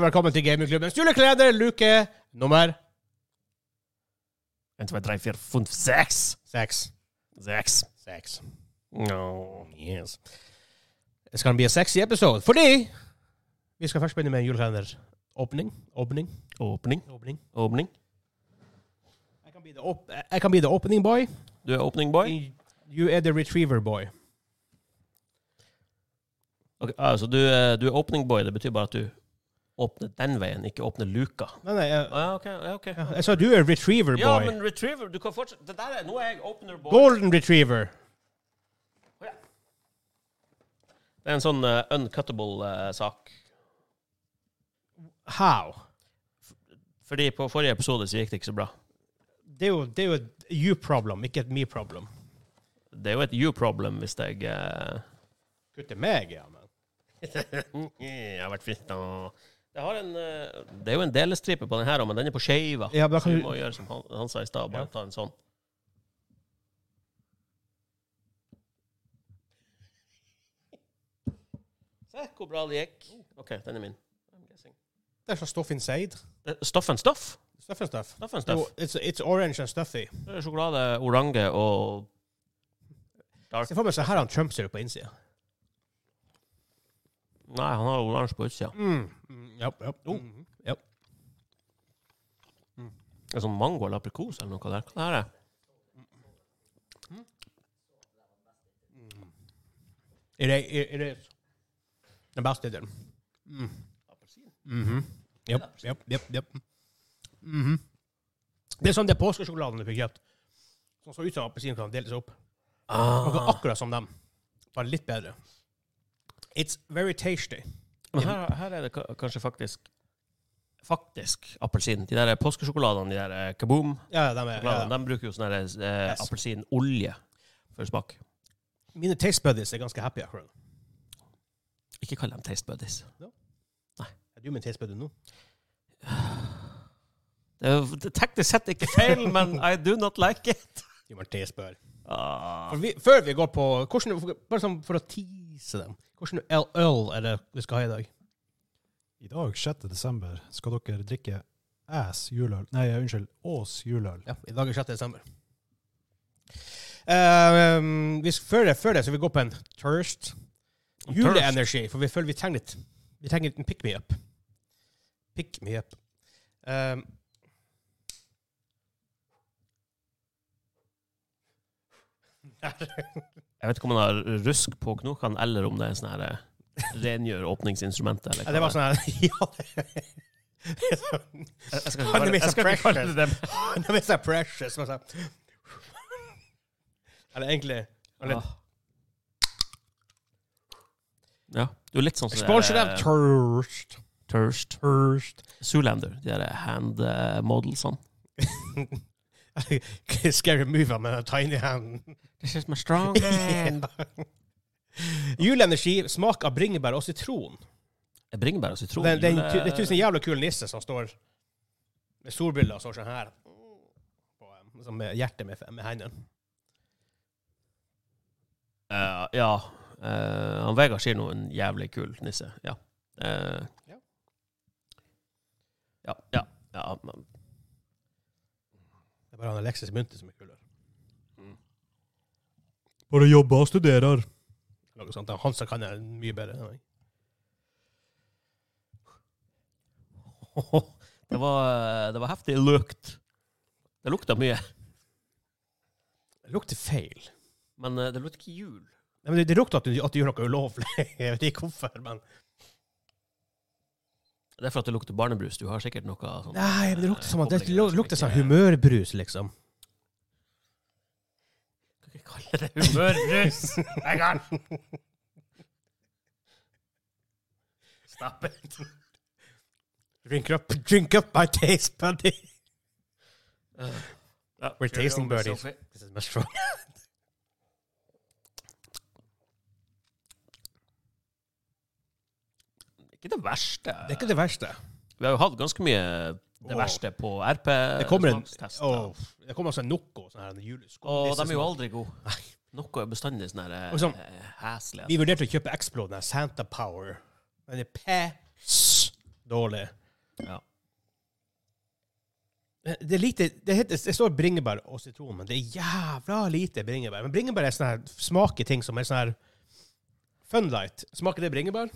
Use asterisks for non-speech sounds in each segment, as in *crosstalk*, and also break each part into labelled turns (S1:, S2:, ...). S1: velkommen til gamingklubbens juleklede, luke nummer
S2: 1, 2, 3, 4, 5, 6.
S1: seks.
S2: 6.
S1: Seks.
S2: No.
S1: Yes. Det skal bli en sexy episode, fordi vi skal først begynne med en julekalenderåpning. Åpning.
S2: Åpning.
S1: Åpning.
S2: Åpning.
S1: Jeg kan bli the, op jeg kan bli the opening boy.
S2: Du er opening boy?
S1: You are the retriever boy.
S2: Ok, altså, du, er- du er opening boy. Det betyr bare at du åpner den veien, ikke åpner luka.
S1: Nei, nei, jeg,
S2: Ah, Ja, ok. Ja, ok.
S1: ja, jeg sa du er retriever boy.
S2: Ja, men retriever Du kan fortsette. Det der er, nå er jeg opener boy.
S1: Golden retriever.
S2: Det er en sånn eh, uncuttable eh, sak.
S1: How?
S2: Fordi på forrige episode så gikk det ikke så bra.
S1: Det er jo, det er jo et you problem, ikke et me problem.
S2: Det er jo et you problem hvis jeg eh,
S1: Kutte meg, ja, men.
S2: Jeg har vært fint, da. Jeg har en, eh, det er jo en delestripe på den her, men den er på skeiva.
S1: Ja, men da
S2: Så
S1: kan
S2: vi
S1: du...
S2: må gjøre som han, han sa i stad, bare
S1: Ja.
S2: ta en sånn. Se hvor bra det gikk. OK, den er min. I'm guessing.
S1: Det er sånn stuff inside.
S2: Det er Stuff and stuff.
S1: Stuff and stuff.
S2: Stuff and
S1: Jo,
S2: stuff.
S1: it's, it's orange and stuffy.
S2: Det er Sjokolade, orange og
S1: Se for meg så her han Trump ser ut på innsida.
S2: Nei, han har oransje på utsida.
S1: Mm. Mm, Japp, japp.
S2: Oh.
S1: Mhm. Japp.
S2: Det er Sånn mango eller aprikos eller noe der. Hva er det? her?
S1: It, i- it, it is. Den beste delen. Mm. Mhm. Japp, japp, japp, japp. Mhm. Det er sånn det er påskesjokoladen du fikk kjøpt. Som så ut som appelsin kan deles opp. Akkurat, akkurat som dem. Bare litt bedre. It's very tasty.
S2: Men her, her er det ka- kanskje faktisk Faktisk appelsin. De der påskesjokoladene, de der eh, kaboom,
S1: Ja, dem er, ja.
S2: sjokoladene, de bruker jo sånn der, eh,
S1: Yes.
S2: appelsinolje for smak.
S1: Mine taste buddies er ganske happy akkurat. nå.
S2: Ikke kall dem taste buddies.
S1: Er du min taste buddy nå?
S2: Det er jo teknisk sett ikke feil, men I do not like it.
S1: Du er min taste buddy.
S2: Ah.
S1: For vi, før vi går på hvordan, Bare sånn for å tease dem. Hvordan øl, øl er det vi skal ha i dag?
S3: I dag, 6. desember, skal dere drikke Æs juleøl Nei, unnskyld, Ås
S1: *clears throat*
S3: juleøl.
S1: Ja, I dag er 6. desember. Eh, um, vi, før, det, før det så vi går på en thirst.
S2: En
S1: Juleenergi, for vi føler vi trenger litt Vi trenger en pick me up. Pick me up. Um,
S2: Jeg vet ikke om han har rusk på knokene, eller om det er sånn her eh, rengjør åpningsinstrumentet. Eller
S1: ja, det var sånn her *laughs* Ja, det det er sånn-
S2: Jeg, jeg skal
S1: Han er
S2: ikke kalle-
S1: Mr.
S2: jeg skal ikke kalle
S1: Precious.
S2: det det.
S1: Det er så precious. men så- Eller egentlig eller-
S2: Ah. Ja, du er litt sånn som det
S1: Sponsor
S2: der,
S1: dem
S2: eh,
S1: Thirst.
S2: Thirst.
S1: Thirst. *laughs*
S2: Zoolander, de der hand eh, modelsene.
S1: Scary movie med den tiny handen.
S2: This is my
S1: *laughs*
S2: strong
S1: hand. Juleenergi, smak av bringebær og sitron.
S2: Bringebær og sitron.
S1: Den, den,
S2: jule-
S1: tu- det er tusen jævla kul nisse som står med solbriller og står sånn her. På, eh, som med hjertet med, med hendene.
S2: Eh, ja. Eh, han Vegard sier noe en jævlig kul nisse. Ja. Eh,
S1: Ja.
S2: ja. Ja. ja. men- *laughs*
S1: Det er bare han Alexis Munte som er kulere.
S2: Mm.
S3: Bare jobber og studerer.
S1: Noe sånt. Han som kan det mye bedre enn meg.
S2: Det var, eh, det var heftig lukt. Det lukta mye.
S1: Det lukter feil.
S2: Men eh, det lukter ikke jul.
S1: Nei, men det, det lukter at du, at du gjør noe ulovlig. *laughs* Jeg vet ikke hvorfor, men
S2: Det er for at det lukter barnebrus. Du har sikkert noe sånn *laughs*
S1: Nei, men det lukter som, det
S2: Kobling,
S1: lu-
S2: liksom,
S1: lukter som
S2: ikke-
S1: humørbrus, liksom.
S2: Kan ikke kalle
S1: *laughs*
S2: det humørbrus. Vegard! Stapp it.
S1: *laughs* Drink up, drink up my taste buddy.
S2: Eh, Ja,
S1: We're
S2: kjør
S1: tasting
S2: over,
S1: birdies.
S2: Sophie.
S1: This is my strong.
S2: Ikke det verste.
S1: Det er ikke det verste.
S2: Vi har jo hatt ganske mye det
S1: Åh.
S2: verste på RP.
S1: Det kommer en
S2: smakstester.
S1: Åh, Det kommer altså en Noco. Sånn her, en julesko-
S2: Og de er jo
S1: nissesmak.
S2: aldri gode. Noe er bestandig sånn her
S1: Og sånn.
S2: eh, heslig.
S1: Vi vurderte å kjøpe Explode, den her Santa Power. Den er pæs dårlig.
S2: Ja.
S1: Eh, Det er lite, det, heter, det står bringebær og sitron, men det er jævla lite bringebær. Men bringebær er sånn her, smaker ting som er sånn her Funlight. Smaker det bringebær?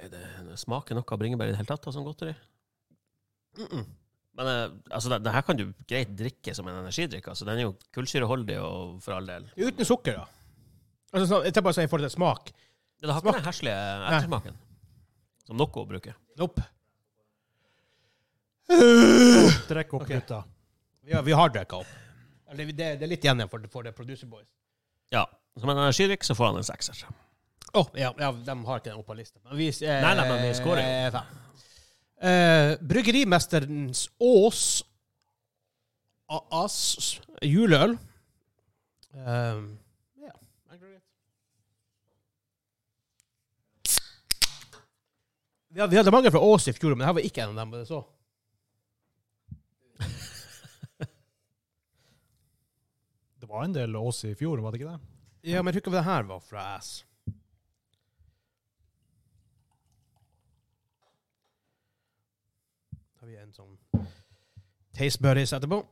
S2: Er det, det smaker noe av bringebær i det hele tatt, altså, som godteri? Men eh, altså, det, det her kan du greit drikke som en energidrikk. Altså, den er jo kullsyreholdig og for all del.
S1: Uten sukker, da. Altså, sånn, jeg tenker bare sånn i forhold til smak.
S2: Det har ikke den heslige ettersmaken som Nocco bruker.
S1: Nope.
S3: Trekk opp, gutta.
S1: Ja, vi har drikka opp. Eller vi- Det, det er litt igjen igjen for, for det Producer Boys.
S2: Ja. Som en energidrikk så får han en sekser.
S1: Å, ja, ja, de har ikke den opp på lista. Men vi, eh,
S2: Nei, nei, men vi scorer jo.
S1: eh, fem. Eh, Bryggerimesterens Ås A- As juleøl. Um, ja. Vi hadde, vi hadde mange fra Ås i fjor, men det her var ikke en av dem. men det Så.
S3: Det var en del Ås i fjor, var det ikke det?
S1: Ja, men jeg tror ikke det her var fra Ass. Tar vi en sånn Taste Buddies etterpå.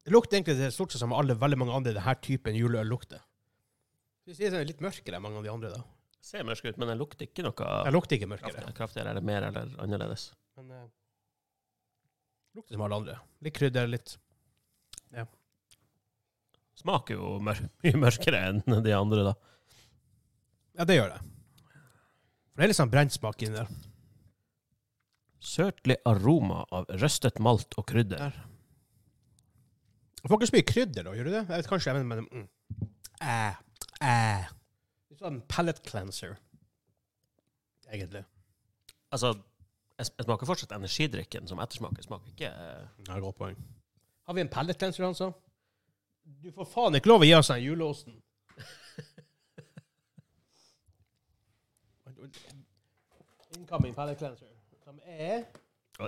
S1: Det lukter egentlig det stort sett som alle, veldig mange andre denne typen juleøl lukter. Hvis sånn, det er litt mørkere enn mange av de andre, da.
S2: Ser mørk ut, men den lukter ikke noe
S1: Det lukter ikke mørkere.
S2: kraftigere, kraftigere eller mer eller annerledes.
S1: Men eh, lukter som alle andre. Litt krydder, litt
S2: Smaker jo mør *laughs* mye mørkere enn de andre, da.
S1: Ja, det gjør det. For det er litt sånn brent smak inni der.
S2: Sørtlig aroma av røstet malt og krydder.
S1: Du får ikke så mye krydder, da, gjør du det? Jeg vet kanskje, men, men mm. Æ, æ. Litt sånn palate cleanser. Egentlig.
S2: Altså, jeg, jeg smaker fortsatt energidrikken som ettersmaker. Smaker ikke eh,
S1: Det er godt poeng. Har vi en palate cleanser, altså? Du får faen ikke lov å gi oss den juleosten. *laughs* Incoming palate cleanser. Som er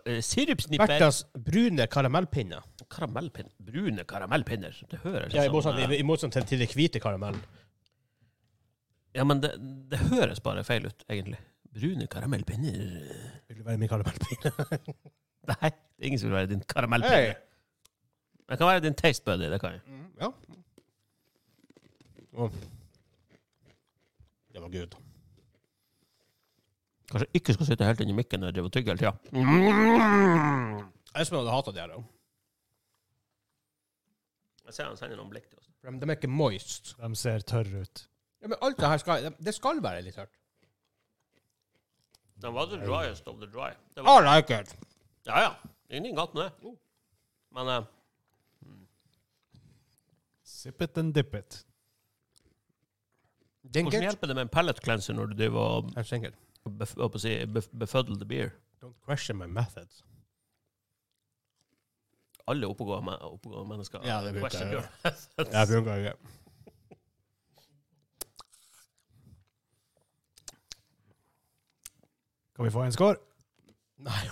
S2: eh, Sirupsnipper.
S1: Bertas brune karamellpinner.
S2: Karamellpin, brune karamellpinner. Det høres ut
S1: Ja, i
S2: som,
S1: motsetning
S2: eh,
S1: i motsetning til de hvite karamellen.
S2: ja, men det, det høres bare feil ut, egentlig. Brune karamellpinner *laughs*
S1: Vil du være min karamellpinne?
S2: Nei, det er ingen som vil være din karamellpinne.
S1: Hei!
S2: Jeg kan være din taste buddy. det kan jeg.
S1: Mm, Ja. Det var good.
S2: Kanskje jeg ikke skal sitte helt inni mikken når jeg driver og tygger hele tida.
S1: Espen hadde hata de her. da.
S2: Jeg ser han sender noen blikk til oss.
S1: For De, de er ikke moist.
S3: De ser tørre ut.
S1: Ja, men alt det her skal, det skal være litt tørt.
S2: Den var the driest of the dry. Det var,
S1: I like it.
S2: ja, ja. Ingenting galt med det. Men eh,
S3: Sip it and dip it.
S1: Dink
S2: hvordan
S1: it.
S2: hjelper det med en pellet cleanser når du driver og
S1: I'm single.
S2: bef, hva på å si, bef, befuddle the beer?
S1: Don't question my methods.
S2: Alle oppegående, men- oppegående mennesker.
S1: Ja, det bruker
S2: Question
S1: jeg, ja.
S2: your-
S1: Jeg bruker ikke.
S3: Kan vi få en score?
S1: Nei.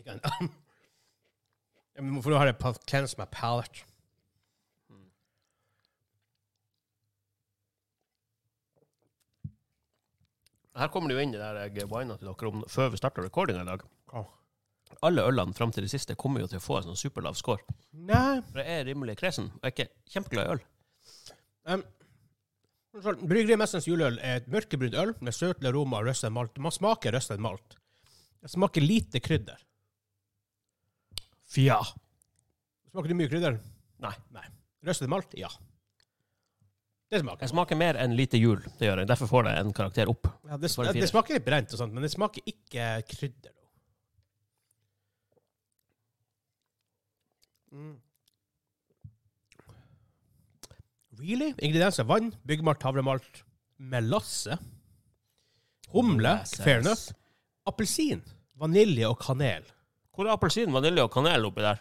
S1: Ikke ennå. *laughs* Ja, men Hvorfor har jeg pa- cleanse my palate?
S2: Her kommer det jo inn det der jeg whina til dere om før vi starta recordinga i dag.
S1: Hva?
S2: Alle ølene fram til det siste kommer jo til å få en sånn superlav score.
S1: Nei.
S2: For jeg er rimelig kresen, og jeg er ikke kjempeglad i øl.
S1: Um, Bryggerimestens juleøl er et mørkebrunt øl med søtlig aroma og røstet malt. Man smaker røstet malt. Det smaker lite krydder.
S2: Fja.
S1: Smaker det mye krydder?
S2: Nei.
S1: Røstet malt? Ja. Det smaker.
S2: Jeg smaker mer enn lite jul. Det gjør jeg. Derfor får det en karakter opp.
S1: Ja, det,
S2: Bare
S1: smaker
S2: fire.
S1: det smaker litt brent, og sånt, men det smaker ikke krydder. Mm. Really? Ingredienser vann, byggmalt, havremalt, melasse, humle, fair enough, appelsin, vanilje og kanel.
S2: Hvor er appelsin, vanilje og kanel oppi der?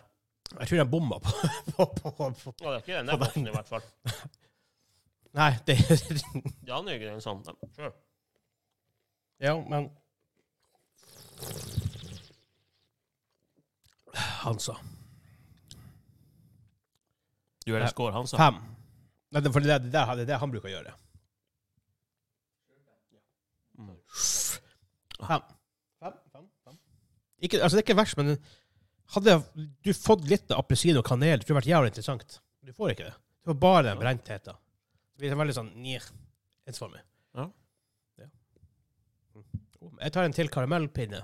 S1: Jeg tror jeg bomma på, *laughs* på, på, på.
S2: Å, det er ikke den der boksen, i hvert fall.
S1: Nei, det
S2: De andre ingrediensene. de- Sure.
S1: *laughs* Ja, men Han sa
S2: Du gjør en score, han sa.
S1: fem. Nei, det- for det, det, der, det er det han bruker å gjøre.
S2: Mm.
S1: Fem. Fem, fem, fem. Ikke, altså, det er ikke verst, men hadde du fått litt av appelsin og kanel, det tror jeg det vært jævlig interessant. Du får ikke det. Det var bare den brentheten. Det blir veldig sånn njeh, ensformig.
S2: Ja.
S1: Ja. Mm. Jeg tar en til karamellpinne,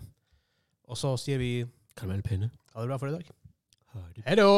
S1: og så sier vi
S2: Karamellpinne.
S1: ha det bra for i dag.
S2: Har du
S1: Hei da!